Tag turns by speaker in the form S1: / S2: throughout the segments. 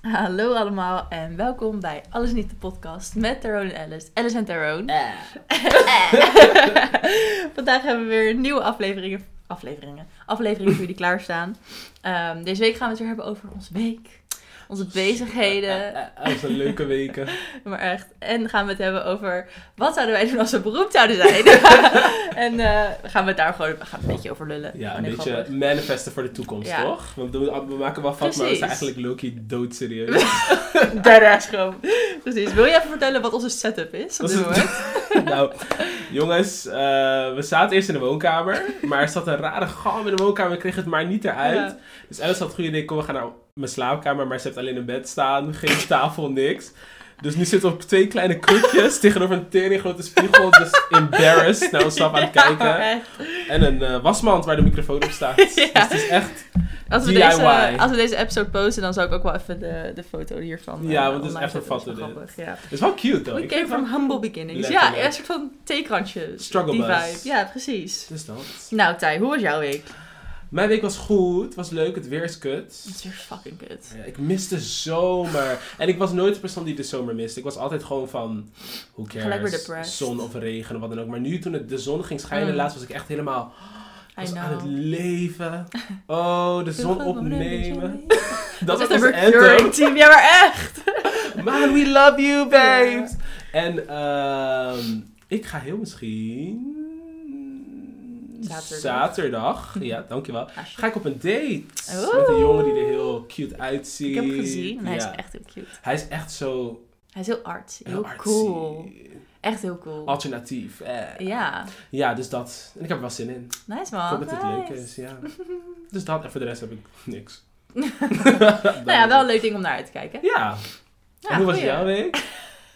S1: Hallo allemaal en welkom bij Alles Niet de Podcast met Tyrone en Alice. Alice en Tyrone. Vandaag hebben we weer nieuwe afleveringen, afleveringen, afleveringen voor jullie klaarstaan. Ehm, deze week gaan we het weer hebben over onze week, onze bezigheden,
S2: Als een eh, leuke weken.
S1: maar echt. En gaan we het hebben over wat zouden wij doen als we beroemd zouden zijn. en eh, gaan we het daar gewoon we gaan een beetje over lullen.
S2: Ja,
S1: Gewoon
S2: een
S1: heel
S2: beetje
S1: grappig.
S2: manifesten voor de toekomst,
S1: Ja.
S2: toch? Want we, we maken wel vast, maar
S1: Precies.
S2: we zijn eigenlijk Loki doodserieus.
S1: Daarnaast gewoon. Precies. Wil je even vertellen wat onze setup is? Op
S2: Wat
S1: dit
S2: is het?
S1: moment?
S2: nou, jongens, eh, we zaten eerst in de woonkamer, maar er zat een rare galm in de woonkamer. Ik kreeg het maar niet eruit.
S1: Ja.
S2: Dus Alice had het goede idee, kom we gaan naar mijn slaapkamer, maar ze heeft alleen een bed staan, geen tafel, niks. Dus nu zitten we op twee kleine krukjes tegenover een tering grote spiegel, dus embarrassed naar onszelf aan het
S1: Ja,
S2: kijken.
S1: echt.
S2: En een eh, wasmand waar de microfoon op staat. Dus het is echt
S1: Als we,
S2: DIY.
S1: deze, als we deze episode posten, dan zou ik ook wel even de, de foto hiervan. eh,
S2: Ja, want het is
S1: online
S2: echt een
S1: zetten. Dat is wel
S2: foto
S1: grappig, Ja.
S2: Het is wel cute, though.
S1: We
S2: Ik
S1: came
S2: vind het
S1: from
S2: wel-
S1: humble beginnings.
S2: Letterlijk.
S1: Ja, een soort van theekrantje.
S2: Struggle
S1: Die
S2: bus.
S1: vibe. Ja, precies.
S2: Dus dat.
S1: Nou, Thij, hoe was jouw week?
S2: Mijn week was goed, het was leuk, het weer is kut.
S1: Het is weer fucking kut.
S2: Ja, Ik mis de zomer. En ik was nooit de persoon die de zomer mist. Ik was altijd gewoon van, who
S1: Gelijk weer
S2: cares,
S1: depressed.
S2: zon of regen of wat dan ook. Maar nu toen het, de zon ging schijnen,
S1: Mm.
S2: laatst was ik echt helemaal
S1: I
S2: was aan het
S1: know.
S2: leven. Oh, de zon opnemen.
S1: Dat
S2: was dus
S1: is een
S2: onze
S1: recurring
S2: anthem.
S1: team. Ja, maar echt.
S2: Man, we love you, babes. En ehm, ik ga heel misschien...
S1: Zaterdag.
S2: Zaterdag. Ja, dankjewel.
S1: Alsjeblieft.
S2: Ga ik op een date
S1: Oeh.
S2: met een jongen die er heel cute uitziet.
S1: Ik heb hem gezien en hij is
S2: Ja.
S1: echt heel cute.
S2: Hij is echt zo
S1: Hij is heel artsy.
S2: heel
S1: Heel
S2: artsy.
S1: cool. Echt heel cool.
S2: Alternatief. eh.
S1: Ja,
S2: Ja, dus dat. En ik heb er wel zin in.
S1: nice
S2: ik
S1: man.
S2: hoop dat het
S1: nice.
S2: leuk is. Ja. Dus dat. En voor de rest heb ik niks.
S1: Nou ja, wel een leuk ding om naar uit te kijken.
S2: Ja.
S1: Ja,
S2: en hoe was
S1: goeie. Mm.
S2: jouw week?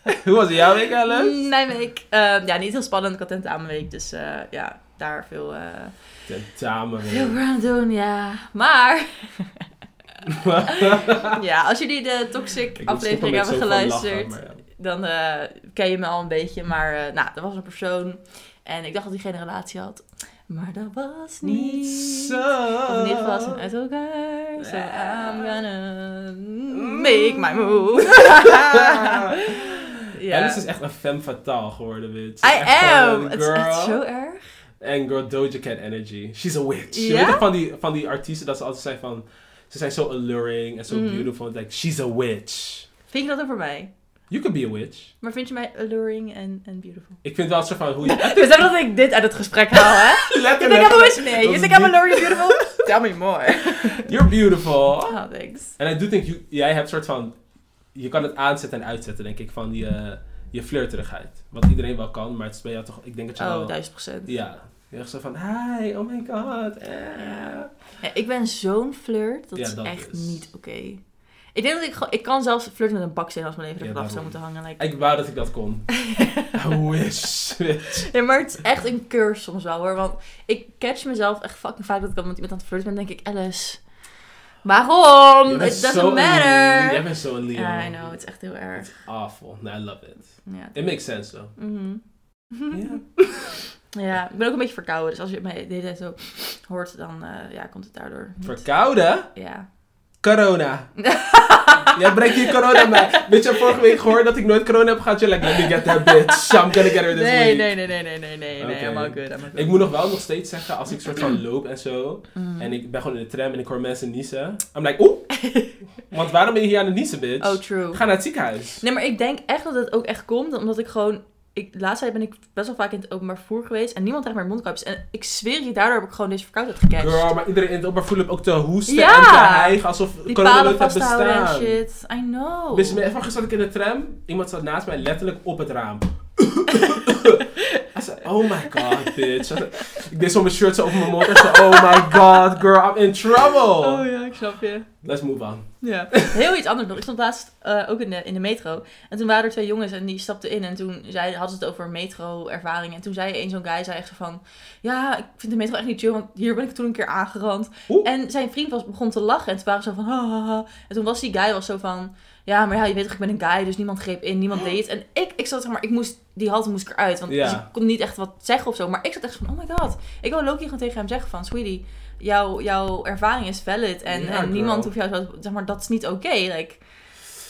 S2: hoe was jouw week, Alice?
S1: Mijn week, ehm, ja, niet heel spannend. Ik had tentamenweek, dus eh, ja, daar veel, eh veel
S2: Tentamen.
S1: voor aan het doen, ja. Maar, ja, als jullie de Toxic
S2: Ah. Ik moet stoppen
S1: aflevering
S2: met
S1: hebben
S2: zo van lachen,
S1: geluisterd,
S2: maar ja.
S1: dan eh, ken je me al een beetje. Maar, eh, nou, er was een persoon en ik dacht dat hij geen relatie had. Maar dat was niet.
S2: Niet zo.
S1: Of in ieder geval zijn uit elkaar. So
S2: Ja.
S1: I'm gonna make my move. ja.
S2: Mm. Alice is echt een femme fatale geworden, bitch. Ze is
S1: I
S2: echt gewoon
S1: am!
S2: een
S1: Het is echt
S2: girl.
S1: zo erg.
S2: En girl, Doja Cat energy. She's a witch. Je
S1: Ja?
S2: weet toch van die, van die artiesten dat ze altijd zijn van... Ze zijn zo alluring en zo
S1: Mhm.
S2: beautiful. Like, she's a witch.
S1: Vind je dat over mij?
S2: You can be a witch.
S1: Maar vind je mij alluring en en beautiful?
S2: Ik vind wel een soort van hoe je...
S1: Ik weet Dus dat ik dit uit het gesprek haal, hè? You think I'm a witch? Nee. You
S2: Dat
S1: think
S2: is
S1: I'm
S2: niet-
S1: alluring and beautiful? Tell me more.
S2: You're beautiful.
S1: Oh, thanks.
S2: En I do think, you, jij hebt soort van... Je kan het aanzetten en uitzetten, denk ik, van je, je flirterigheid. Wat iedereen wel kan, maar het is bij jou toch... Ik denk dat je
S1: Oh,
S2: wel...
S1: duizend procent.
S2: Ja. Je echt zo van, hi, oh my god. eh.
S1: Ja, ik ben zo'n flirt, dat
S2: Ja,
S1: is
S2: dat
S1: echt
S2: is-
S1: niet oké. Ik denk dat ik gewoon... Ik kan zelfs flirten met een baksteen als mijn leven
S2: Ja,
S1: ervan af zou
S2: daarom.
S1: moeten hangen. Like...
S2: Ik wou dat ik dat kon. I wish, bitch.
S1: Ja, maar het is echt een curse soms wel, hoor. Want ik catch mezelf echt fucking vaak dat ik dan met iemand aan het flirten ben. denk ik, Alice, waarom?
S2: Jij
S1: It
S2: bent
S1: doesn't
S2: zo een Leo. Jij
S1: matter.
S2: bent zo'n Leo.
S1: Ja, I know. Het is echt heel erg.
S2: It's awful. No, I love it.
S1: Ja.
S2: It makes sense though.
S1: Mhm.
S2: Ja.
S1: Mm-hmm. Ja, ik ben ook een beetje verkouden. Dus als je mij de hele tijd zo hoort, dan eh, ja, komt het daardoor niet.
S2: Verkouden?
S1: ja.
S2: Corona. Jij brengt hier corona mee. Weet je, vorige week gehoord dat ik nooit corona heb gehad? You're like, let me get that bitch. I'm gonna get her this
S1: Nee,
S2: week.
S1: nee, nee, nee, nee, nee, nee, nee.
S2: Oké.
S1: I'm all good, I'm all good.
S2: Ik moet nog wel nog steeds zeggen, als ik soort van loop en zo,
S1: Mm.
S2: en ik ben gewoon in de tram en ik hoor mensen niezen, I'm like, oeh, want waarom ben je hier aan het niezen, bitch?
S1: Oh, true.
S2: Ga naar het ziekenhuis.
S1: Nee, maar ik denk echt dat het ook echt komt, omdat ik gewoon... Ik, laatst tijd ben ik best wel vaak in het openbaar vervoer geweest en niemand draagt meer mondkapjes. En ik zweer je, daardoor heb ik gewoon deze verkoudheid gecatcht.
S2: Girl, maar iedereen in het openbaar voel ik ook te hoesten
S1: Ja.
S2: en te hijgen, alsof
S1: Die
S2: corona
S1: palen
S2: nooit had
S1: vasthouden en
S2: bestaan.
S1: shit. I know.
S2: Dus me- vanochtend zat ik in de tram. Iemand zat naast mij letterlijk op het raam. I said, oh my god, bitch. I said- Ik deed zo mijn shirt zo over mijn mond. Ik zei, oh my god, girl, I'm in trouble.
S1: Oh ja, ik snap je.
S2: Let's move on.
S1: Ja. Heel iets anders nog. Ik stond laatst eh, ook in de, in de metro. En toen waren er twee jongens en die stapten in. En toen zei, hadden ze het over metro-ervaring. En toen zei een zo'n guy zei echt zo van... Ja, ik vind de metro echt niet chill, want hier ben ik toen een keer aangerand.
S2: Oeh.
S1: En zijn vriend was, begon te lachen. En toen waren ze zo van... "Ha, ha, ha." En toen was die guy was zo van... Ja, maar ja, je weet toch, ik ben een guy. Dus niemand greep in, niemand deed. En ik, ik zat zeg maar... Ik moest, die halte moest ik eruit. Want
S2: Ja.
S1: dus ik kon niet echt wat zeggen of zo. Maar ik zat echt van... Oh my god. Ik wil Loki gewoon tegen hem zeggen van... Sweetie, jouw jouw ervaring is valid. En,
S2: Ja,
S1: en niemand
S2: girl.
S1: hoeft jou zo... Zeg maar, dat is niet oké. Like,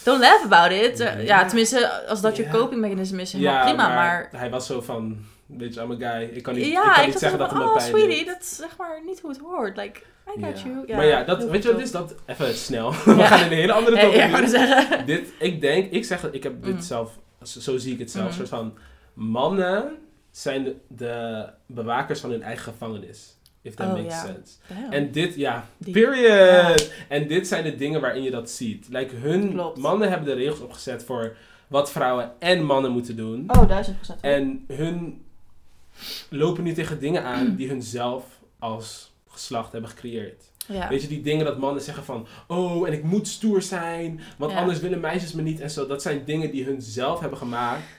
S1: don't laugh about it. Eh, Ja,
S2: Ja.
S1: tenminste, als dat je
S2: Ja.
S1: coping mechanism is, helemaal
S2: Ja,
S1: prima.
S2: maar,
S1: Maar,
S2: hij was zo van, weet je, I'm a guy. Ik kan niet, ik
S1: ja,
S2: kan
S1: ik
S2: niet
S1: dacht
S2: zeggen dat
S1: van,
S2: het me
S1: oh
S2: pijn doet.
S1: sweetie, dat is zeg maar niet hoe het hoort. Like, I got
S2: Ja.
S1: you. Ja,
S2: maar ja, dat,
S1: heel
S2: weet je wat
S1: goed
S2: het is?
S1: zo.
S2: Dat, even snel. We
S1: Ja.
S2: gaan in een hele andere
S1: Ja,
S2: topic.
S1: ja, ik wou
S2: nu.
S1: zeggen.
S2: dit, ik denk, ik zeg, dat- ik heb dit
S1: Mm.
S2: zelf, zo zo zie ik het zelf,
S1: Mm.
S2: soort van, mannen zijn de, de bewakers van hun eigen gevangenis. If that
S1: Oh,
S2: makes
S1: ja.
S2: sense.
S1: Damn.
S2: En dit, ja,
S1: Diep.
S2: period. En dit zijn de dingen waarin je dat ziet. Like, hun
S1: Klopt.
S2: mannen hebben de regels opgezet voor wat vrouwen en mannen moeten doen.
S1: Oh, duizend procent.
S2: En hun lopen nu tegen dingen
S1: Mm.
S2: aan die hun zelf als geslacht hebben gecreëerd.
S1: ja.
S2: Weet je, die dingen dat mannen zeggen van, oh, en ik moet stoer zijn, want
S1: Ja.
S2: anders willen meisjes me niet en zo. Dat zijn dingen die hun zelf hebben gemaakt.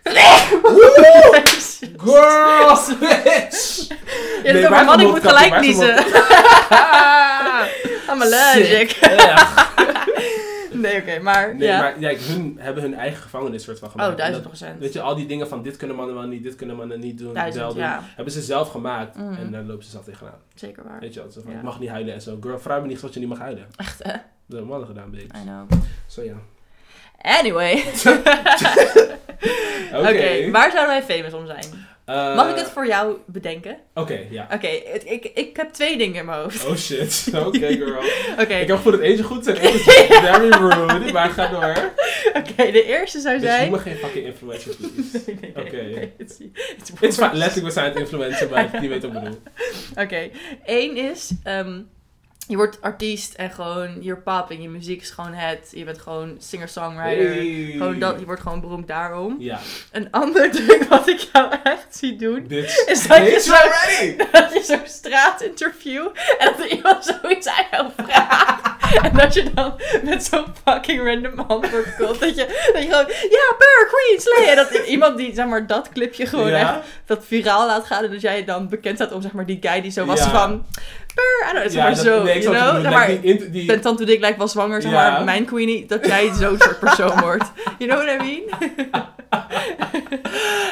S2: Girls, bitch!
S1: Je hebt
S2: Nee,
S1: het over
S2: waar
S1: man,
S2: is
S1: ik
S2: mijn
S1: moet
S2: mondkapje?
S1: gelijk
S2: Waar is mijn
S1: niezen. I'm allergic.
S2: Sick. Echt.
S1: Nee, oké, maar
S2: Nee,
S1: ja.
S2: maar ja, hun hebben hun eigen gevangenis soort van gemaakt.
S1: oh,
S2: En
S1: duizend
S2: dat-
S1: procent.
S2: Weet je, al die dingen van dit kunnen mannen wel niet, dit kunnen mannen niet doen, wel
S1: duizend,
S2: doen.
S1: ja.
S2: Hebben ze zelf gemaakt
S1: Mhm.
S2: en daar lopen ze zelf tegenaan.
S1: Zeker waar.
S2: Weet je wel, zo van,
S1: Ja.
S2: ik mag niet huilen en zo. Girl, vraag me niet dat je niet mag huilen.
S1: Echt, hè?
S2: Dat hebben mannen gedaan, baby.
S1: I know.
S2: Zo ja.
S1: Anyway.
S2: Oké.
S1: Oké, waar zouden wij famous om zijn?
S2: Eh,
S1: Mag ik het voor jou bedenken?
S2: Oké, ja.
S1: Oké, het- ik, ik heb twee dingen in mijn hoofd.
S2: Oh shit. Oké, girl.
S1: Oké,
S2: Ik heb voor het eentje goed zijn. eentje slecht. Very rude, maar ga door.
S1: oké, de eerste zou
S2: Dus noem
S1: zijn...
S2: me geen fucking influencer, please.
S1: Nee, nee, nee,
S2: Oké.
S1: nee, it's- it's
S2: It's fine.
S1: worse.
S2: Letterlijk, we zijn het influencer, maar die weet wat ik bedoel.
S1: Oké, één is, ehm, je wordt artiest en gewoon, you're popping, je muziek is gewoon het, je bent gewoon singer-songwriter,
S2: Hey.
S1: eh, gewoon dat, je wordt gewoon beroemd daarom.
S2: Ja,
S1: Een ander ding wat ik jou echt zie doen,
S2: bitch.
S1: Is dat je
S2: Bitch,
S1: zo-
S2: we're ready?
S1: dat je zo'n straatinterview en dat iemand zoiets aan jou vraagt. en dat je dan met zo'n fucking random antwoord komt, dat je, dat je gewoon, ja, Bear, Queen, Slay, en dat iemand die, zeg maar, dat clipje gewoon echt
S2: Ja?
S1: dat viraal laat gaan en dat jij dan bekend staat om zeg maar die guy die zo was
S2: Ja.
S1: van per I don't know, zeg
S2: Ja,
S1: maar
S2: dat-
S1: zo,
S2: nee, ik
S1: you
S2: snap
S1: know,
S2: wat je
S1: zeg
S2: bedoelt.
S1: maar
S2: Like, die int- die-
S1: ben tante Dick lijkt was zwanger, zeg
S2: Ja.
S1: maar mijn queenie, dat jij zo'n soort persoon wordt. You know what I mean?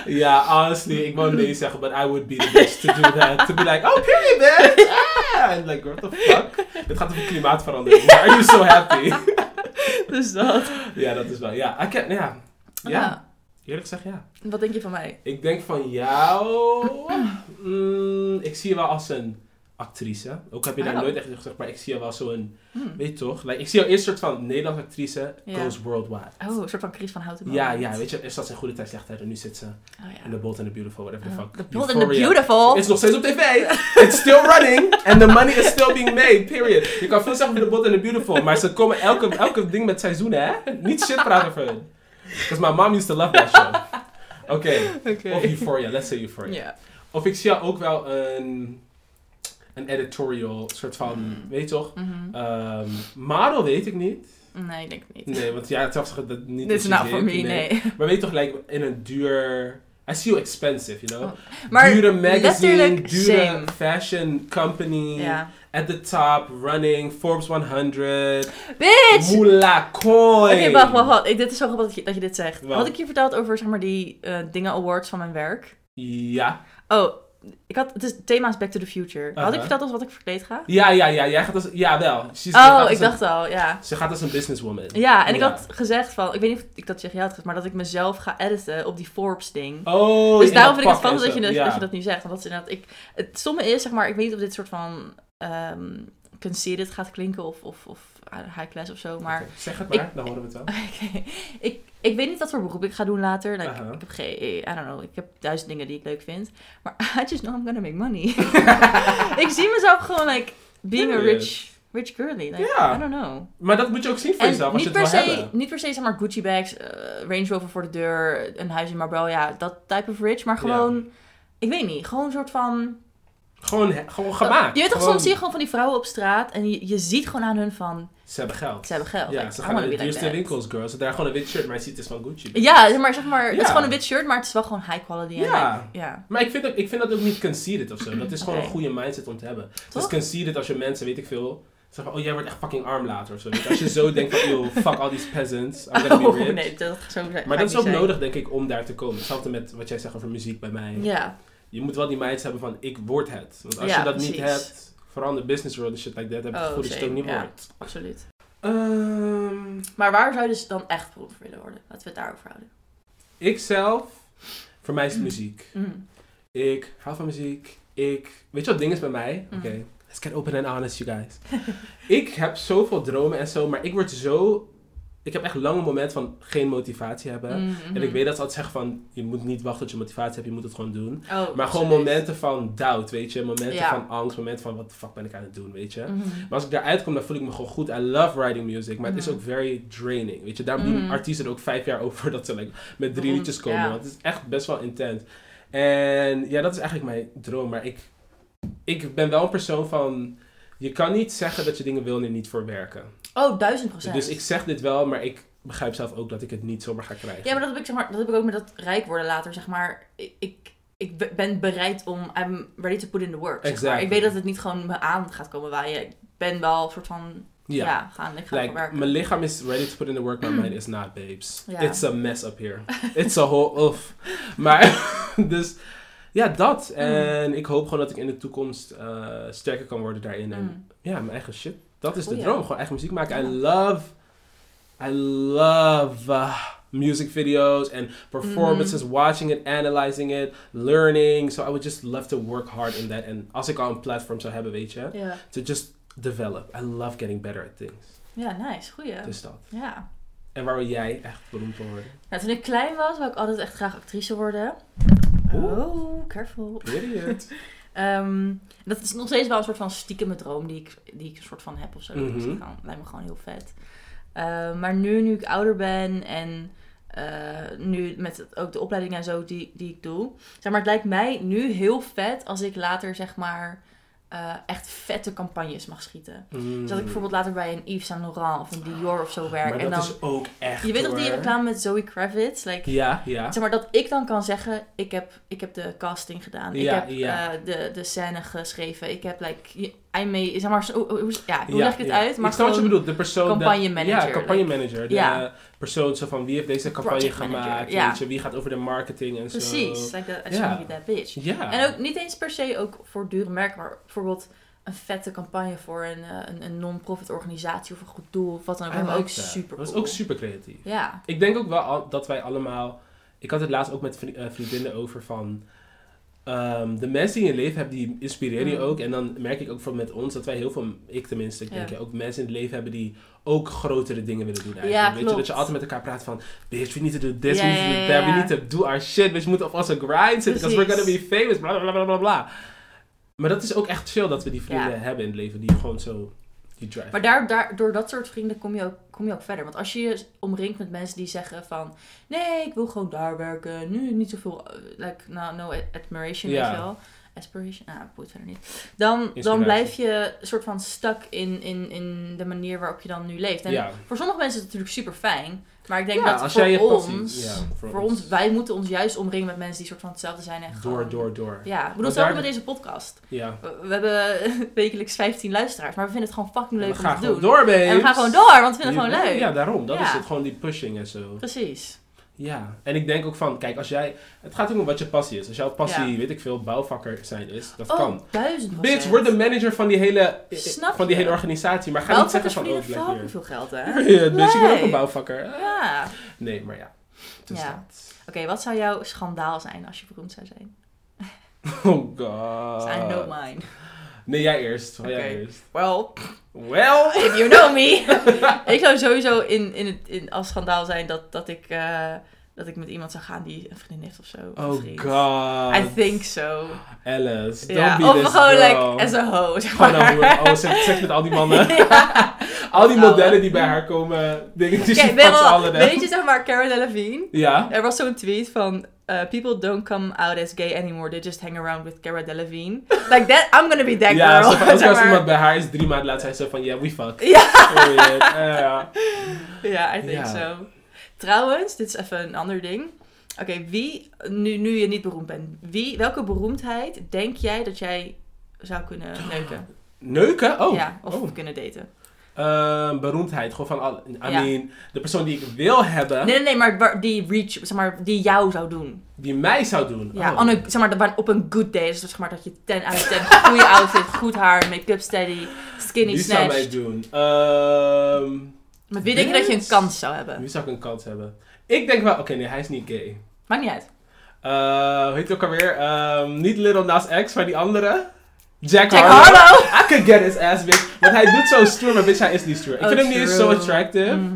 S2: Ja, honestly, ik wou nee zeggen, but I would be the bitch to do that. To be like, oh, period, bitch. Ah. And like, what the fuck? Het gaat over klimaatverandering. Why are you so happy?
S1: Dus dat.
S2: ja, dat is wel. Ja, I can, ja. ja,
S1: Ja.
S2: eerlijk gezegd, ja.
S1: Ah, Wat denk je van mij?
S2: Ik denk van jou. Mm, ik zie je wel als een actrice. Ook heb je daar
S1: Oh.
S2: nooit echt in gezegd, maar ik zie je wel zo'n.
S1: Hmm.
S2: Weet je toch? Like, ik zie jou eerst een soort van Nederlandse actrice.
S1: Ja.
S2: Goes worldwide.
S1: Oh, een soort van Chris van Houten.
S2: Ja, ja, weet je, eerst zat ze in goede tijd, slechte tijd en nu zit ze
S1: Oh, ja.
S2: in The Bold and the Beautiful, whatever the
S1: Oh,
S2: fuck.
S1: the Bold and the
S2: Euphoria.
S1: Beautiful.
S2: Het is nog steeds op tv. It's still running. And the money is still being made, period. Je kan veel zeggen over The Bold and the Beautiful, maar ze komen elke, elke ding met seizoenen, hè? Niet shit praten over hun. Because my mom used to love that show. Oké.
S1: Oké.
S2: Of Euphoria, let's say Euphoria.
S1: Ja.
S2: Of ik zie jou ook wel een, een editorial soort van,
S1: Mm.
S2: weet je toch?
S1: Mhm.
S2: Ehm model weet ik niet.
S1: Nee, ik denk het niet.
S2: Nee, want ja, het was dat niet.
S1: Dit is
S2: precies
S1: nou voor
S2: ik,
S1: me, nee.
S2: Maar weet je toch, like, in een duur... I see you expensive, you know?
S1: Oh, Maar
S2: dure magazine,
S1: letterlijk
S2: dure
S1: same.
S2: fashion company.
S1: Ja.
S2: At the top, running, Forbes 100.
S1: Bitch!
S2: Moula
S1: Oké,
S2: Koi.
S1: wacht, wacht, wacht. Ik- Dit is zo grappig dat je, dat je dit zegt.
S2: Wat?
S1: Had ik je verteld over, zeg maar, die eh, dingen awards van mijn werk?
S2: Ja.
S1: Oh, ik had, het is, het thema is Back to the Future. Had ik
S2: Uh-huh.
S1: verteld als wat ik verkleed ga?
S2: Ja, ja, ja. Jij gaat als... Ja, wel. She's- ze gaat
S1: oh,
S2: als
S1: ik
S2: een-
S1: dacht al, ja.
S2: Ze gaat als een businesswoman.
S1: Ja, en ik
S2: Ja.
S1: had gezegd van, ik weet niet of ik dat tegen jou had gezegd, maar dat ik mezelf ga editen op die Forbes ding.
S2: Oh,
S1: dus daarom
S2: in
S1: vind
S2: dat
S1: ik het
S2: pak en
S1: spannend dat je,
S2: zo.
S1: dat,
S2: Ja.
S1: dat je dat nu zegt. Want dat is inderdaad, ik, het stomme is, zeg maar, ik weet niet of dit soort van ehm conceited gaat klinken of, of, of uh, high class of zo, maar...
S2: Oké, Zeg het
S1: ik-
S2: maar, dan horen we het wel.
S1: Oké. Ik, ik weet niet wat voor beroep ik ga doen later. Like,
S2: Aha.
S1: Ik heb geen, I don't know, ik heb duizend dingen die ik leuk vind. Maar I just know I'm gonna make money. ik zie mezelf gewoon like being a rich, rich girly. Like,
S2: Ja.
S1: I don't know.
S2: Maar dat moet je ook zien voor jezelf
S1: En
S2: als je
S1: niet
S2: het
S1: per,
S2: wil
S1: se,
S2: hebben.
S1: niet per se zeg maar Gucci bags, eh, Range Rover voor de deur, een huis in Marbella, ja, dat type of rich. Maar
S2: Ja.
S1: gewoon, ik weet niet, gewoon een soort van...
S2: Gewoon, he- gewoon gemaakt.
S1: Je weet toch,
S2: Gewoon-
S1: soms zie je gewoon van die vrouwen op straat en je, je ziet gewoon aan hun van,
S2: Ze hebben geld.
S1: ze hebben geld.
S2: Ja,
S1: Like,
S2: ze
S1: I
S2: gaan
S1: wanna
S2: naar de
S1: be like
S2: duurste
S1: that.
S2: winkels, girl. Ze dragen gewoon een wit shirt, maar je ziet het is van Gucci.
S1: Ja, zeg maar, zeg maar het is
S2: Ja.
S1: gewoon een wit shirt, maar het is wel gewoon high quality. en
S2: Ja.
S1: like, ja.
S2: Maar ik vind, dat, ik vind dat ook niet conceited of zo. Dat is gewoon
S1: Oké.
S2: een goede mindset om te hebben. Het
S1: Toch?
S2: is conceited als je mensen, weet ik veel, zeggen: Oh, jij wordt echt fucking arm later of zo. Weet je, Als je zo denkt van, yo, fuck all these peasants, I'm gonna
S1: Oh,
S2: be rich.
S1: nee, dat zo zijn.
S2: Maar
S1: ga
S2: dat is
S1: ik
S2: ook
S1: niet zijn.
S2: nodig, denk ik, om daar te komen. Hetzelfde met wat jij zegt over muziek bij mij.
S1: Ja,
S2: Je moet wel die mindset hebben van, ik word het. Want als
S1: Ja,
S2: je dat niet
S1: precies.
S2: hebt, vooral in de business world en shit like that, heb je
S1: Oh,
S2: het gevoel dat je het ook
S1: same,
S2: niet
S1: ja.
S2: wordt.
S1: absoluut.
S2: Ehm,
S1: Maar waar zou je dus dan echt beroemd voor willen worden? Laten we het daarover houden.
S2: ik zelf, voor mij is het muziek.
S1: Mm.
S2: Ik hou van muziek. Ik, weet je wat het ding is bij mij?
S1: Mm.
S2: Oké, let's get open and honest, you guys. ik heb zoveel dromen en zo, maar ik word zo... Ik heb echt lange momenten van geen motivatie hebben.
S1: Mm,
S2: En ik
S1: mhm.
S2: weet dat ze altijd zeggen van, je moet niet wachten tot je motivatie hebt, je moet het gewoon doen.
S1: Oh,
S2: Maar gewoon
S1: serieus.
S2: momenten van doubt, weet je. Momenten
S1: Ja.
S2: van angst, momenten van, wat de fuck ben ik aan het doen, weet je.
S1: Mhm.
S2: Maar als ik daaruit kom, dan voel ik me gewoon goed. I love writing music, maar het is
S1: Mhm.
S2: ook very draining. Weet je, daarom doen
S1: Mhm.
S2: artiesten er ook vijf jaar over dat ze like, met drie
S1: Waarom?
S2: liedjes komen.
S1: Ja.
S2: Want het is echt best wel intens. En ja, dat is eigenlijk mijn droom. Maar ik, ik ben wel een persoon van... Je kan niet zeggen dat je dingen wil en er niet voor werken.
S1: Oh, duizend procent.
S2: Dus ik zeg dit wel, maar ik begrijp zelf ook dat ik het niet zomaar ga krijgen.
S1: Ja, maar dat heb ik, zeg maar, dat heb ik ook met dat rijk worden later, zeg maar. Ik, ik, ik be- ben bereid om, I'm ready to put in the work, zeg maar.
S2: Exactly.
S1: Ik weet dat het niet gewoon me aan gaat komen waaien. Ik ben wel een soort van, ja,
S2: Ja.
S1: gaan, ik ga ervoor
S2: Like,
S1: werken.
S2: mijn lichaam is ready to put in the work, my mind is not, babes.
S1: Ja.
S2: It's a mess up here. It's a whole oof. Maar, dus, ja, dat.
S1: Mm.
S2: En ik hoop gewoon dat ik in de toekomst eh, sterker kan worden daarin. En
S1: Mm.
S2: ja, mijn eigen shit. Dat is de
S1: Goeie.
S2: droom. Gewoon eigen muziek maken.
S1: Ja.
S2: I love, I love uh, music videos and performances.
S1: Mm-hmm.
S2: Watching it, analyzing it, learning. So I would just love to work hard in that. En als ik al een platform zou hebben, weet je.
S1: Ja.
S2: To just develop. I love getting better at things.
S1: ja, nice, goeie.
S2: Dus dat.
S1: Ja.
S2: En waar wil jij echt beroemd voor worden?
S1: Nou, toen ik klein was, wou ik altijd echt graag actrice worden. Oh, careful.
S2: Period.
S1: Ehm, dat is nog steeds wel een soort van stiekeme droom die ik, die ik een soort van heb of zo.
S2: Mhm.
S1: Dus dat kan- lijkt me gewoon heel vet. Ehm, maar nu, nu ik ouder ben en eh, nu met het- ook de opleiding en zo die, die ik doe. Zeg maar, het lijkt mij nu heel vet als ik later zeg maar eh, echt vette campagnes mag schieten. Dus dat ik bijvoorbeeld later bij een Yves Saint Laurent of een Dior of zo werk.
S2: Hmm. Mhm. Maar
S1: en
S2: dat
S1: dan,
S2: is ook echt
S1: je weet toch die
S2: hoor.
S1: reclame met Zoe Kravitz? Like,
S2: Ja, ja.
S1: Zeg maar dat ik dan kan zeggen, ik heb, ik heb de casting gedaan, ik
S2: Ja,
S1: heb
S2: ja.
S1: eh, de, de scène geschreven, ik heb like, je- I may, zeg maar, zo- hoe, hoe- ja, hoe
S2: Ja,
S1: leg ik het
S2: ja.
S1: uit? Maar
S2: ik snap wat je
S1: gewoon-
S2: bedoelt. De persoon... dat-
S1: campagnemanager,
S2: Ja, campagne manager. De
S1: ja.
S2: persoon zo van wie heeft deze campagne
S1: Project
S2: gemaakt.
S1: manager, ja.
S2: Weet je, wie gaat over de marketing en zo.
S1: Precies, like that, I shouldn't be
S2: Ja.
S1: that bitch.
S2: Ja.
S1: En ook niet eens per se ook voor dure merken, maar bijvoorbeeld een vette campagne voor een, eh, een, een non-profit organisatie of een goed doel of wat dan ook.
S2: I
S1: lijkt me
S2: like
S1: ook
S2: that.
S1: super
S2: Dat is
S1: cool.
S2: ook super creatief.
S1: Ja.
S2: Ik denk ook wel al- dat wij allemaal. Ik had het laatst ook met vri- eh, vriendinnen over van. ehm, de mensen die in je leven hebt, die inspireren je
S1: Mm.
S2: ook. En dan merk ik ook van met ons dat wij heel veel, ik tenminste, ik
S1: Ja.
S2: denk ja, ook mensen in het leven hebben die ook grotere dingen willen doen.
S1: Ja,
S2: Eigenlijk. Weet je,
S1: klopt.
S2: dat je altijd met elkaar praat van, bitch, we need to do this,
S1: Ja,
S2: we need to do
S1: ja,
S2: that,
S1: ja,
S2: we
S1: ja.
S2: need to do our shit, bitch, we moeten op onze grind zitten, because we're gonna
S1: Precies.
S2: be famous, bla bla bla bla bla. Maar dat is ook echt chill dat we die vrienden
S1: Ja.
S2: hebben in het leven, die gewoon zo, die drive.
S1: Maar daar, daar, door dat soort vrienden kom je, ook, kom je ook verder. Want als je je omringt met mensen die zeggen van... Nee, ik wil gewoon daar werken. Nu niet zoveel... eh, Like, no, no admiration,
S2: Ja.
S1: weet je wel. Aspiration? Ah, boeit verder niet. Dan, dan
S2: Inspiratie.
S1: blijf je soort van stuk in, in, in de manier waarop je dan nu leeft. En
S2: ja.
S1: voor sommige mensen is het natuurlijk super fijn. Maar ik denk
S2: Ja,
S1: dat
S2: als
S1: voor
S2: jij je
S1: ons...
S2: passie- ja,
S1: voor ons, wij moeten ons juist omringen met mensen die soort van hetzelfde zijn. En
S2: Door,
S1: gewoon-
S2: door, door.
S1: Ja, ik bedoel,
S2: Want
S1: zelfs
S2: daar-
S1: met deze podcast.
S2: Ja.
S1: We, we hebben wekelijks 15 luisteraars. Maar we vinden het gewoon fucking leuk
S2: We
S1: om
S2: gaan
S1: te doen.
S2: gewoon door, babes.
S1: En we gaan gewoon door, want we vinden het
S2: Ja,
S1: gewoon leuk.
S2: Ja, daarom. Dat
S1: Ja.
S2: is het. Gewoon die pushing en zo.
S1: Precies.
S2: Ja. En ik denk ook van, kijk, als jij... Het gaat ook om wat je passie is. Als jouw passie, weet ik veel, bouwvakker zijn is, dat
S1: oh,
S2: kan.
S1: duizend
S2: Bitch, word de manager van die hele,
S1: Snap
S2: van die
S1: je?
S2: hele organisatie. Maar ga
S1: Wel
S2: niet zeggen van, oh,
S1: verdienen
S2: blijf
S1: fucking
S2: hier.
S1: veel geld, hè?
S2: Ja, bitch, ik ben ook
S1: Nee.
S2: een bouwvakker. Eh,
S1: Ja. Oké,
S2: Nee, maar ja. Dus
S1: Ja. wat zou jouw schandaal zijn als je beroemd zou zijn? Dus
S2: dat. Oh god.
S1: I know mine.
S2: Nee, jij eerst. Jij
S1: Oké.
S2: eerst.
S1: Well,
S2: Wel.
S1: if you know me. ik zou sowieso in, in, het- in, als schandaal zijn dat, dat, ik, eh, dat ik met iemand zou gaan die een vriendin heeft of zo. of een
S2: Oh
S1: vriend.
S2: god.
S1: I think so.
S2: Alice, don't
S1: Ja,
S2: be
S1: Of
S2: this
S1: gewoon,
S2: girl.
S1: like, as a hoe, zeg
S2: Gewoon
S1: maar.
S2: een hoer. Oh, ze heeft seks met al die mannen.
S1: Ja.
S2: Al die
S1: Alle.
S2: modellen die bij haar komen, dingetjes
S1: Oké,
S2: okay,
S1: ben
S2: van
S1: je wel-
S2: alle
S1: weet je, zeg maar, Cara Delevingne?
S2: Ja.
S1: Er was zo'n tweet van... eh, people don't come out as gay anymore. They just hang around with Cara Delevingne. Like that, I'm gonna be that
S2: ja,
S1: girl.
S2: zo van, elke keer
S1: zeg
S2: als
S1: maar.
S2: iemand bij haar is drie maanden laat, zijn ze van, ja, we fuck.
S1: Ja,
S2: Period. Eh, ja.
S1: ja, I think
S2: Ja.
S1: so. Trouwens, dit is even een ander ding. Oké, wie, nu, nu je niet beroemd bent, wie, welke beroemdheid denk jij dat jij zou kunnen neuken?
S2: Neuken? Oh.
S1: Ja, of
S2: oh.
S1: kunnen daten?
S2: ehm, beroemdheid. Gewoon van, al, I
S1: Ja.
S2: mean, de persoon die ik wil hebben,
S1: Nee, nee, nee, maar waar- die reach, zeg maar, die jou zou doen.
S2: die mij zou doen.
S1: Ja,
S2: Oh.
S1: on a- zeg maar, waar- op een good day. Dus zeg maar dat je 10 uit 10, goede outfit, goed haar, make-up steady, skinny
S2: die zou mij
S1: snatch.
S2: doen. Ehm,
S1: Met wie denk je dat je een
S2: Yes.
S1: kans zou hebben?
S2: wie zou ik een kans hebben? Ik denk wel, oké, nee, hij is niet gay.
S1: Maakt niet uit.
S2: Eh, hoe heet hij ook alweer? Ehm, niet Little Nas X, maar die andere. Jack,
S1: Jack
S2: Harlow.
S1: Harlow!
S2: I could get his ass, bitch. Want hij doet zo stoer, maar bitch, hij is niet stoer. Ik
S1: Oh,
S2: vind hem niet eens zo
S1: true.
S2: attractive.
S1: Mhm.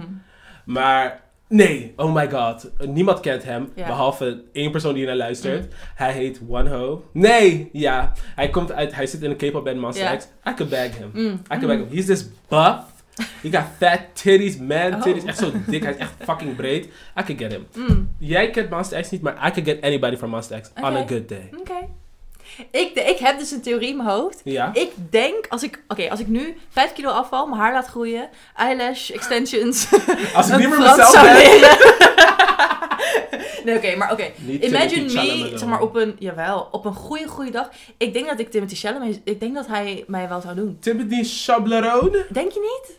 S2: Maar nee, oh my god. Niemand kent hem,
S1: Ja. Mm.
S2: behalve één persoon die naar luistert. Hij heet One Ho. Nee, ja. Hij, komt uit, hij zit in een K-pop band, Monster
S1: Ja.
S2: X. I could bag him.
S1: Mm.
S2: I could bag him. He's this buff. He got fat titties, man titties.
S1: Oh.
S2: Echt zo dik, hij is echt fucking breed. I could get him.
S1: Mm.
S2: Jij kent Monster X niet, maar I could get anybody from Monster X on a
S1: Oké.
S2: good day.
S1: Oké. Ik, de- ik heb dus een theorie in mijn hoofd.
S2: Ja?
S1: Ik denk, als ik, oké, als ik nu 5 kilo afval, mijn haar laat groeien, eyelash extensions,
S2: Als ik
S1: een
S2: niet meer
S1: Frans
S2: mezelf
S1: zou
S2: ben.
S1: leren. nee, oké, maar oké.
S2: Niet
S1: Imagine me,
S2: Timothy Chalamet.
S1: zeg maar, op een, jawel, op een goede, goede dag. Ik denk dat ik Timothy Chalamet, ik denk dat hij mij wel zou doen.
S2: Timothy Chablerone?
S1: Denk je niet?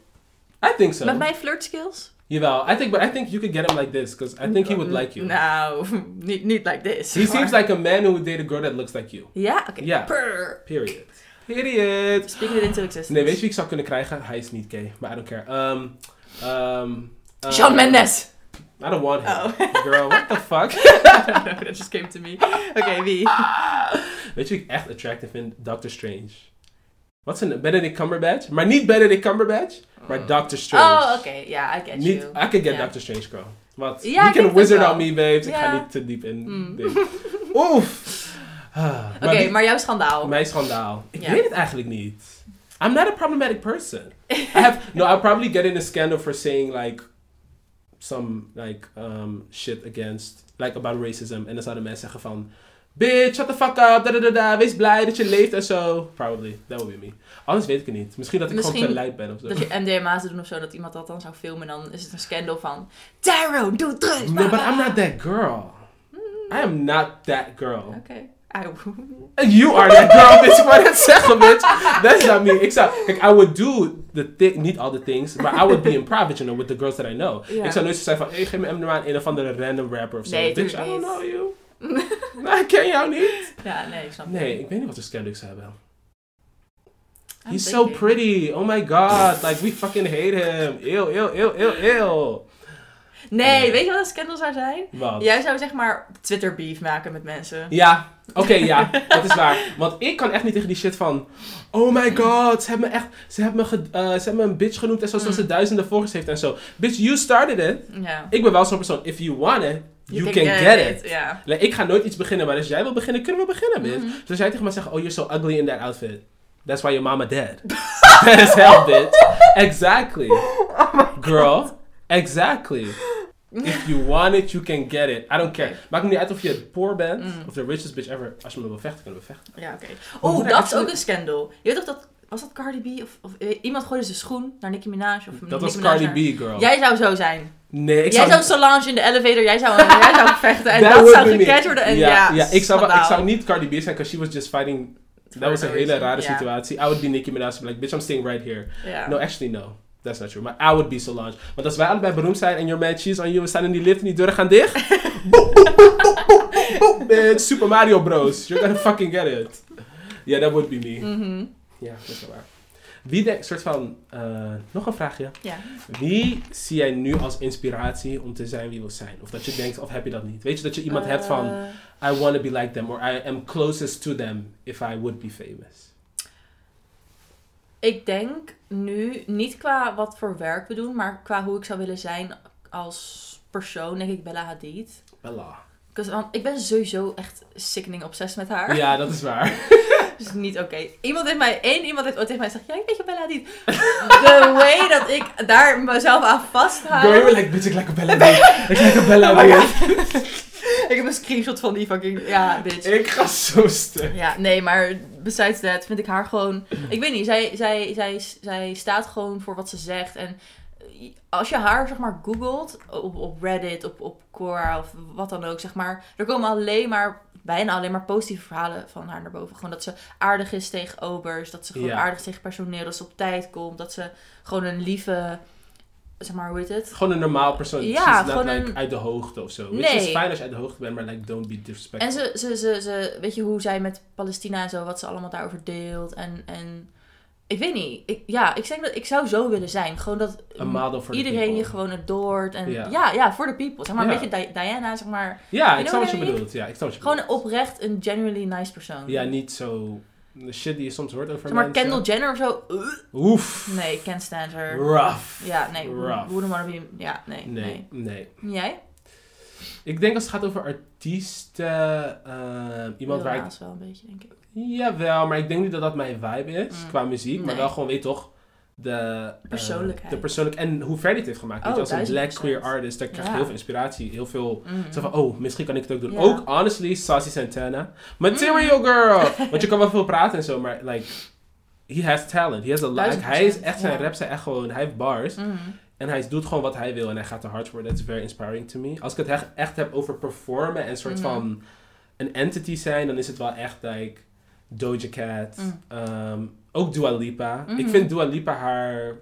S2: I think so.
S1: Met mijn flirt skills?
S2: Jawel, I think, but I think you could get him like this, because I think he
S1: Mm,
S2: would like you.
S1: Nou, niet, niet like this.
S2: He seems
S1: maar-
S2: like a man who would date a girl that looks like you.
S1: Ja, oké.
S2: Ja.
S1: Purr.
S2: Period. Period.
S1: Speaking it into existence.
S2: Nee, weet je wie ik zou kunnen krijgen? Hij is niet gay, maar I don't care. Um, um, um,
S1: Shawn Mendes.
S2: I don't want him.
S1: Oh.
S2: Girl, what the fuck?
S1: That just came to me. Oké, wie?
S2: weet je wie ik echt attractive vind? Doctor Strange. Wat is een Benedict Cumberbatch? Maar niet Benedict Cumberbatch, maar Doctor Strange.
S1: Hmm. Oh, oké. Ja, I get
S2: Niet,
S1: you.
S2: I could get
S1: Ja.
S2: Doctor Strange, girl. Wat?
S1: Ja,
S2: Je
S1: ik
S2: you
S1: denk
S2: can
S1: het
S2: wizard
S1: wel.
S2: on me, babes. Ik ga
S1: Ja.
S2: niet te diep in.
S1: Mm.
S2: dit. Oef. Ah,
S1: Oké,
S2: maar die-
S1: maar jouw schandaal.
S2: Mijn schandaal. Ik
S1: Ja.
S2: weet het eigenlijk niet. I'm not a problematic person. I have, no, I'll probably get in a scandal for saying like some like um, shit against like about racism. En dan zouden mensen zeggen van bitch, shut the fuck up, da da da da. Wees blij dat je leeft en zo. Probably, that would be me. Anders weet ik het niet. Misschien dat ik gewoon
S1: Misschien
S2: te lijp ben of zo.
S1: Dat je MDMA zou doen of zo, dat iemand dat dan zou filmen. En dan is het een scandal van... Tyrone, doe drugs!
S2: No, but I'm not that girl.
S1: Mm.
S2: I am not that girl.
S1: Oké. Auw.
S2: You are that girl, bitch. Why that zeggen, bitch? That's not me. Ik zou, kijk, I would do the thing, niet all the things, but I would be in private, you know, with the girls that I know.
S1: Ja.
S2: Ik zou nooit zo zijn van, hey, geef me MDMA aan een of andere random rapper of zo.
S1: Nee,
S2: bitch, I
S1: tuurlijk
S2: don't know
S1: niet.
S2: you. Nou, ik ken jou niet.
S1: Ja, nee, ik snap het.
S2: Nee, ik weet niet wat voor scandal ik zou hebben.
S1: I'm
S2: He's so
S1: thinking.
S2: pretty. Oh my god. Like, we fucking hate him. Ew, ew, ew, ew, ew.
S1: Nee, weet je wat een scandal zou zijn?
S2: Wat?
S1: Jij zou zeg maar Twitter beef maken met mensen.
S2: Ja, oké, ja, dat is waar. Want ik kan echt niet tegen die shit van. Oh my god, ze hebben me echt. Ze hebben me, ge- eh, ze hebben me een bitch genoemd en zo, zoals ze duizenden volgers heeft en zo. Bitch, you started it.
S1: Ja.
S2: Ik ben wel zo'n persoon. If you want it, you, can, get, it.
S1: Ja.
S2: Like, ik ga nooit iets beginnen, maar als jij wil beginnen, kunnen we beginnen, bitch. Dus als jij tegen me zegt, oh, you're so ugly in that outfit. That's why your mama dead. that is hell, bitch. Exactly.
S1: Oh
S2: Girl, exactly. If you want it, you can get it. I don't care. Maakt me niet uit of je poor bent
S1: Mm.
S2: of the richest bitch ever. Als je me wil vechten, kunnen we vechten.
S1: Ja, oké.
S2: Maar
S1: Oh,
S2: moet er
S1: dat is
S2: echt-
S1: ook een scandal. Je weet toch dat... Was dat Cardi B? Of, of eh, iemand gooide zijn schoen naar Nicki Minaj? Of
S2: Dat
S1: Nicki
S2: was
S1: Minaj
S2: Cardi
S1: naar-
S2: B, girl.
S1: Jij zou zo zijn.
S2: nee, ik
S1: jij zou
S2: zou...
S1: Solange in de elevator, jij zou, jij zou vechten en
S2: That
S1: dat
S2: would
S1: zou
S2: be me.
S1: gecatcht worden. En ja,
S2: ja, ja, ik, zou, wel- ik
S1: schandaal.
S2: zou niet Cardi B zijn, because she was just fighting... Dat was een
S1: no
S2: hele
S1: reason,
S2: rare
S1: ja.
S2: situatie. I would be Nicki Minaj. I'd be like, bitch, I'm staying right here.
S1: Ja.
S2: No, actually no. That's not true. Maar I would be Solange. Want als wij allebei beroemd zijn en your man cheese on you, we staan in die lift en die deuren gaan dicht. boop, boop, boop, boop, boop, boop, bitch. Super Mario Bros. You're gonna fucking get it. Yeah, that would be me.
S1: Mhm.
S2: Ja, dat is wel waar. Wie denk, soort van, eh, nog een vraagje.
S1: Ja.
S2: Wie zie jij nu als inspiratie om te zijn wie je wil zijn? Of dat je denkt, of heb je dat niet? Weet je dat je iemand hebt van,
S1: Eh,
S2: I want to be like them, or I am closest to them if I would be famous.
S1: Ik denk nu, niet qua wat voor werk we doen, maar qua hoe ik zou willen zijn als persoon, denk ik Bella Hadid.
S2: Bella.
S1: 'Cause, Want ik ben sowieso echt sickening obsessed met haar.
S2: Ja, dat is waar.
S1: Dus niet oké. Iemand heeft mij, één iemand heeft ooit tegen mij gezegd, ja, ik weet je Bella Hadid. The way dat ik daar mezelf aan vasthoud.
S2: Girl, you're like, bitch, ik lijk op Bella. Hadid. Ik lijk op Bella.
S1: Oh my
S2: Hadid.
S1: Ik heb een screenshot van die fucking, ja, bitch.
S2: Ik ga zo stuk.
S1: Ja, nee, maar besides that vind ik haar gewoon... Ik weet niet, zij, zij, zij, zij staat gewoon voor wat ze zegt. En als je haar, zeg maar, googelt op, op Reddit, op, op Quora of wat dan ook, zeg maar... Er komen alleen maar bijna alleen maar positieve verhalen van haar naar boven. Gewoon dat ze aardig is tegen obers, dat ze gewoon
S2: Ja.
S1: aardig is tegen personeel, dat ze op tijd komt, dat ze gewoon een lieve, zeg maar, hoe heet het?
S2: Gewoon een normaal persoon.
S1: Ja,
S2: She's not,
S1: gewoon
S2: like,
S1: een-
S2: uit de hoogte of zo.
S1: Nee.
S2: Weet je, het is fijn als je uit de hoogte bent, maar like, don't be disrespectful.
S1: En ze, ze, ze, ze, weet je hoe zij met Palestina en zo, wat ze allemaal daarover deelt. En, en ik weet niet. Ik, ja, ik denk dat ik zou zo willen zijn. Gewoon dat
S2: A model for the
S1: iedereen je
S2: people.
S1: gewoon adoort. En
S2: Ja.
S1: ja, ja, voor de people. Zeg maar een
S2: Ja.
S1: beetje Di- Diana, zeg maar.
S2: Ja,
S1: You
S2: ik
S1: know
S2: snap wat
S1: what
S2: je
S1: I mean?
S2: bedoelt. Ja, ik snap wat je
S1: Gewoon
S2: bedoelt.
S1: oprecht een genuinely nice persoon.
S2: Ja, niet zo... De shit die je soms hoort over
S1: Zeg maar
S2: mensen.
S1: Kendall Jenner of zo. Ugh.
S2: Oef.
S1: Nee, ik can't stand her.
S2: Rough.
S1: Ja, nee.
S2: Rough.
S1: Wouldn't wanna be... Ja, nee. Nee.
S2: Nee, nee.
S1: Jij?
S2: Ik denk als het gaat over artiesten... eh, iemand waar ik
S1: Helaas wel een beetje, denk ik.
S2: Jawel, maar ik denk niet dat dat mijn vibe is
S1: Mm.
S2: qua muziek. Maar
S1: Nee.
S2: wel gewoon, weet je toch, de eh,
S1: Persoonlijkheid.
S2: de persoonlijk en hoe ver dit heeft gemaakt. weet
S1: Oh,
S2: je, als een black
S1: 1000%.
S2: queer artist, daar krijg je
S1: Ja.
S2: heel veel inspiratie. Heel veel.
S1: Mm.
S2: Zo van, oh, misschien kan ik het ook doen.
S1: Ja.
S2: Ook, honestly, Sassy Santana.
S1: Mm.
S2: Material girl! Want je kan wel veel praten en zo, maar like. He has talent. He has a like,
S1: 1000%,
S2: Hij is echt zijn
S1: ja.
S2: raps zijn echt gewoon. Hij heeft bars.
S1: Mm.
S2: En hij doet gewoon wat hij wil en hij gaat te hard voor. That's very inspiring to me. Als ik het echt, echt heb over performen en soort
S1: Mhm.
S2: van een entity zijn, dan is het wel echt like Doja Cat.
S1: Mm.
S2: ehm, ook Dua Lipa.
S1: Mhm.
S2: Ik vind Dua Lipa haar,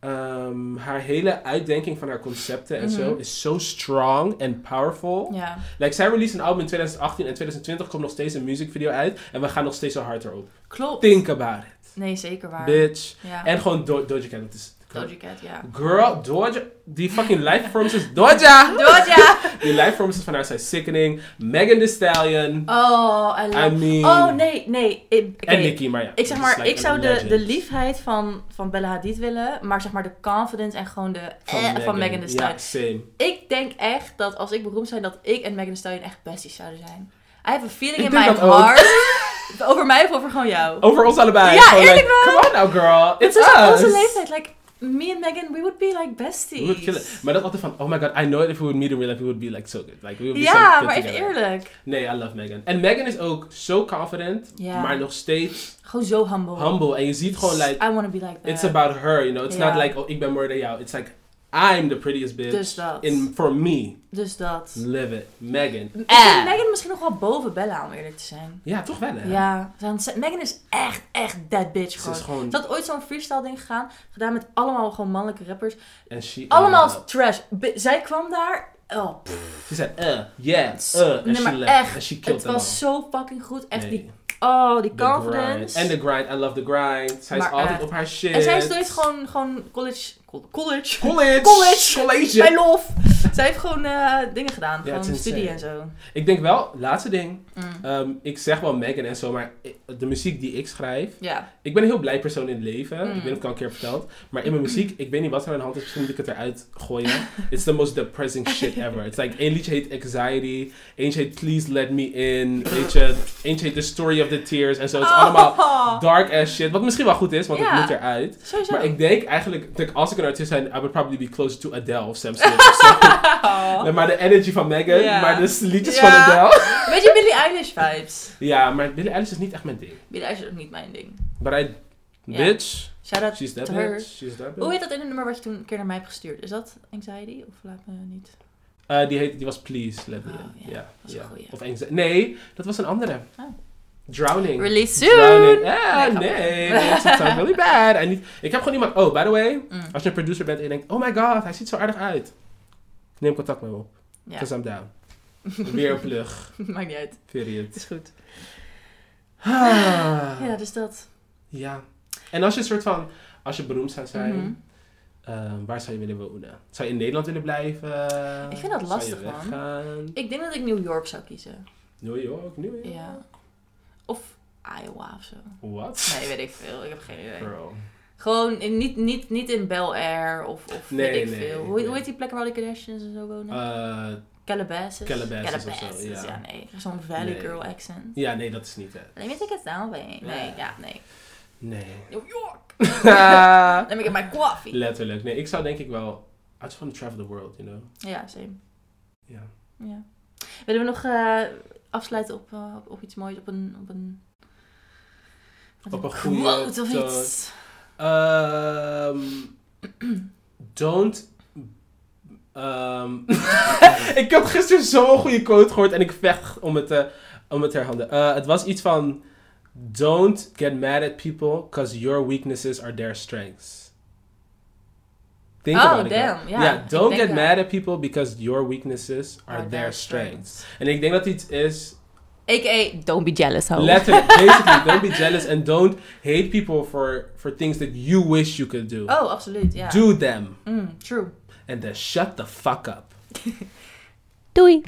S2: ehm, haar hele uitdenking van haar concepten en zo
S1: Mhm.
S2: is zo strong en powerful.
S1: Ja.
S2: Like, zij release een album in 2018 en 2020 komt nog steeds een music video uit en we gaan nog steeds zo hard erop.
S1: Klopt.
S2: Think about it,
S1: Nee, zeker waar.
S2: bitch.
S1: Ja.
S2: En gewoon Do- Doja Cat. Het is
S1: Doja Cat, ja.
S2: Girl, Doja, die fucking live performances, Doja!
S1: Doja!
S2: Die live performances van haar zijn sickening. Megan Thee Stallion,
S1: Oh, I
S2: I
S1: love...
S2: mean...
S1: Oh, nee, nee. Ik, oké.
S2: En Nicki, maar ja.
S1: Ik zeg
S2: dus
S1: maar,
S2: like
S1: ik
S2: a
S1: zou de, de
S2: legend.
S1: liefheid van, van Bella Hadid willen, maar zeg maar de confidence en gewoon de eh, van, Megan Thee Stallion.
S2: Ja, same.
S1: Ik denk echt dat als ik beroemd zou zijn, dat ik en Megan Thee Stallion echt besties zouden zijn. I have a feeling
S2: Ik
S1: in my
S2: denk dat ook. Oh,
S1: heart. over mij of over gewoon jou.
S2: Over ons allebei.
S1: Ja,
S2: Gewoon
S1: eerlijk
S2: like, Come on now, girl. It's
S1: Het is
S2: us.
S1: onze leeftijd. Like, me and Megan, we would be like besties.
S2: We would kill it. Maar dat altijd van, oh my god, I know it if we would meet in real life, we would be like so good. Like, we would be so
S1: ja,
S2: good
S1: maar even
S2: together.
S1: eerlijk.
S2: Nee, I love Megan. En Megan is ook zo confident,
S1: Ja.
S2: maar nog steeds
S1: Gewoon zo humble.
S2: humble. En je ziet gewoon, like,
S1: I wanna be like that.
S2: it's about her, you know? It's
S1: Ja.
S2: not like, oh, ik ben mooier dan jou. It's like, I'm the prettiest bitch.
S1: dus dat.
S2: In, for me,
S1: Dus dat.
S2: live it. Megan.
S1: Ik vind Megan misschien nog wel boven Bella, om eerlijk te zijn.
S2: Ja, toch wel hè?
S1: Ja, want Megan is echt, echt that bitch
S2: Ze
S1: gewoon.
S2: is gewoon...
S1: Ze had ooit zo'n freestyle ding gegaan, gedaan met allemaal gewoon mannelijke rappers.
S2: En she,
S1: Allemaal
S2: uh,
S1: trash. Be- zij kwam daar. Oh, pff,
S2: Ze zei, eh, yeah,
S1: S-
S2: eh. En
S1: nee,
S2: she
S1: maar
S2: left.
S1: echt,
S2: En she killed
S1: het
S2: them
S1: was zo fucking goed.
S2: all.
S1: Echt
S2: Nee,
S1: die, oh, die
S2: the grind.
S1: confidence.
S2: En de grind. I love the grind. Zij is
S1: Maar
S2: altijd
S1: echt.
S2: op haar shit.
S1: En zij is nooit gewoon, gewoon college, col- college,
S2: College.
S1: College.
S2: College.
S1: bij lof. zij heeft gewoon eh, dingen gedaan,
S2: Ja, het
S1: gewoon
S2: is
S1: studie en
S2: insane.
S1: zo.
S2: Ik denk wel, laatste ding.
S1: Mm,
S2: Ehm, ik zeg wel Megan en zo, maar ik- de muziek die ik schrijf.
S1: Ja,
S2: Ik ben een heel blij persoon in het leven. Ik
S1: Mm.
S2: weet niet of ik al een keer heb verteld. Maar in mijn muziek, ik weet niet wat er aan de hand is. Misschien moet ik het eruit gooien. It's the most depressing shit ever. It's like, één liedje heet Anxiety. Eentje heet Please Let Me In. Eentje, eentje heet The Story of the Tears. En zo. Het is
S1: Oh.
S2: allemaal dark ass shit. Wat misschien wel goed is, want
S1: Ja.
S2: het moet eruit.
S1: sowieso.
S2: Maar ik denk eigenlijk, dat als ik een artiest zijn, I would probably be closer to Adele of Sam Smith. of zo.
S1: Oh.
S2: Nee, maar de energy van Megan,
S1: Ja.
S2: maar de liedjes
S1: Ja.
S2: van Adele.
S1: Beetje Billie Eilish vibes.
S2: Ja, maar Billie Eilish is niet echt mijn ding.
S1: Billie Eilish is ook niet mijn ding.
S2: But I,
S1: Ja.
S2: bitch,
S1: Shout out
S2: she's that
S1: to her.
S2: bitch, she's that bitch.
S1: Hoe heet dat in het nummer wat je toen een keer naar mij hebt gestuurd? Is dat anxiety? Of laat me niet.
S2: Eh, die, heet, die was Please, let me
S1: Oh,
S2: in.
S1: ja.
S2: Ja,
S1: Dat is
S2: ja.
S1: een goeie.
S2: Of Anxiety. Nee, dat was een andere.
S1: Oh.
S2: Drowning.
S1: Release
S2: Drowning.
S1: soon!
S2: Ah,
S1: Nee,
S2: nee.
S1: grapje.
S2: That sounds really bad. I need... Ik heb gewoon iemand... Oh, by the way.
S1: Mm,
S2: Als je een producer bent en je denkt... Oh my god, hij ziet zo aardig uit. Neem contact met me op.
S1: ja,
S2: Because I'm down. Weer een plug.
S1: Mm. maakt niet uit.
S2: Period.
S1: Is goed.
S2: Ah.
S1: Ja, dus dat.
S2: Ja. En als je een soort van... Als je beroemd zou zijn...
S1: Mhm.
S2: ehm, waar zou je willen wonen? Zou je in Nederland willen blijven?
S1: Ik vind dat lastig, man.
S2: man.
S1: Ik denk dat ik New York zou kiezen.
S2: New York, New York.
S1: Ja. Of Iowa of zo.
S2: What?
S1: Nee, weet ik veel. Ik heb geen idee.
S2: Girl.
S1: Gewoon in- niet, niet, niet in Bel Air of, of
S2: Nee,
S1: weet ik
S2: nee,
S1: veel. Hoe,
S2: nee.
S1: hoe heet die plekken waar de Kardashians en zo wonen?
S2: Eh,
S1: Calabasas.
S2: Calabasas of zo, ja.
S1: ja. nee. Zo'n Valley
S2: Nee.
S1: Girl accent.
S2: ja, nee, dat is niet eh, het.
S1: Let me take it down, babe. Nee,
S2: Ja.
S1: ja, nee.
S2: Nee.
S1: New York! Let me get my coffee.
S2: Letterlijk. Nee, ik zou denk ik wel... I just want to travel the world, you know?
S1: Ja, same.
S2: Ja.
S1: Ja. Willen we nog eh, afsluiten op, eh, op, op iets moois? Op een... Op een, met
S2: Op een goede
S1: quote of
S2: toon.
S1: iets?
S2: Ehm, don't... ehm, ik heb gisteren zo'n goede quote gehoord en ik vecht om het te... om het herhanden. Eh, het was iets van... Don't get mad at people, because your weaknesses are their strengths. Think
S1: Oh,
S2: about it, girl.
S1: damn, ja, ik
S2: don't
S1: denk
S2: get
S1: dat.
S2: mad at people, because your weaknesses are, their, strengths. En ik denk dat iets is...
S1: A.k.a. don't be jealous, ho.
S2: Letterlijk, basically, don't be jealous and don't hate people for, for things that you wish you could do.
S1: Oh, absoluut, ja.
S2: Do them.
S1: Mm, true.
S2: And then shut the fuck up.
S1: Doei.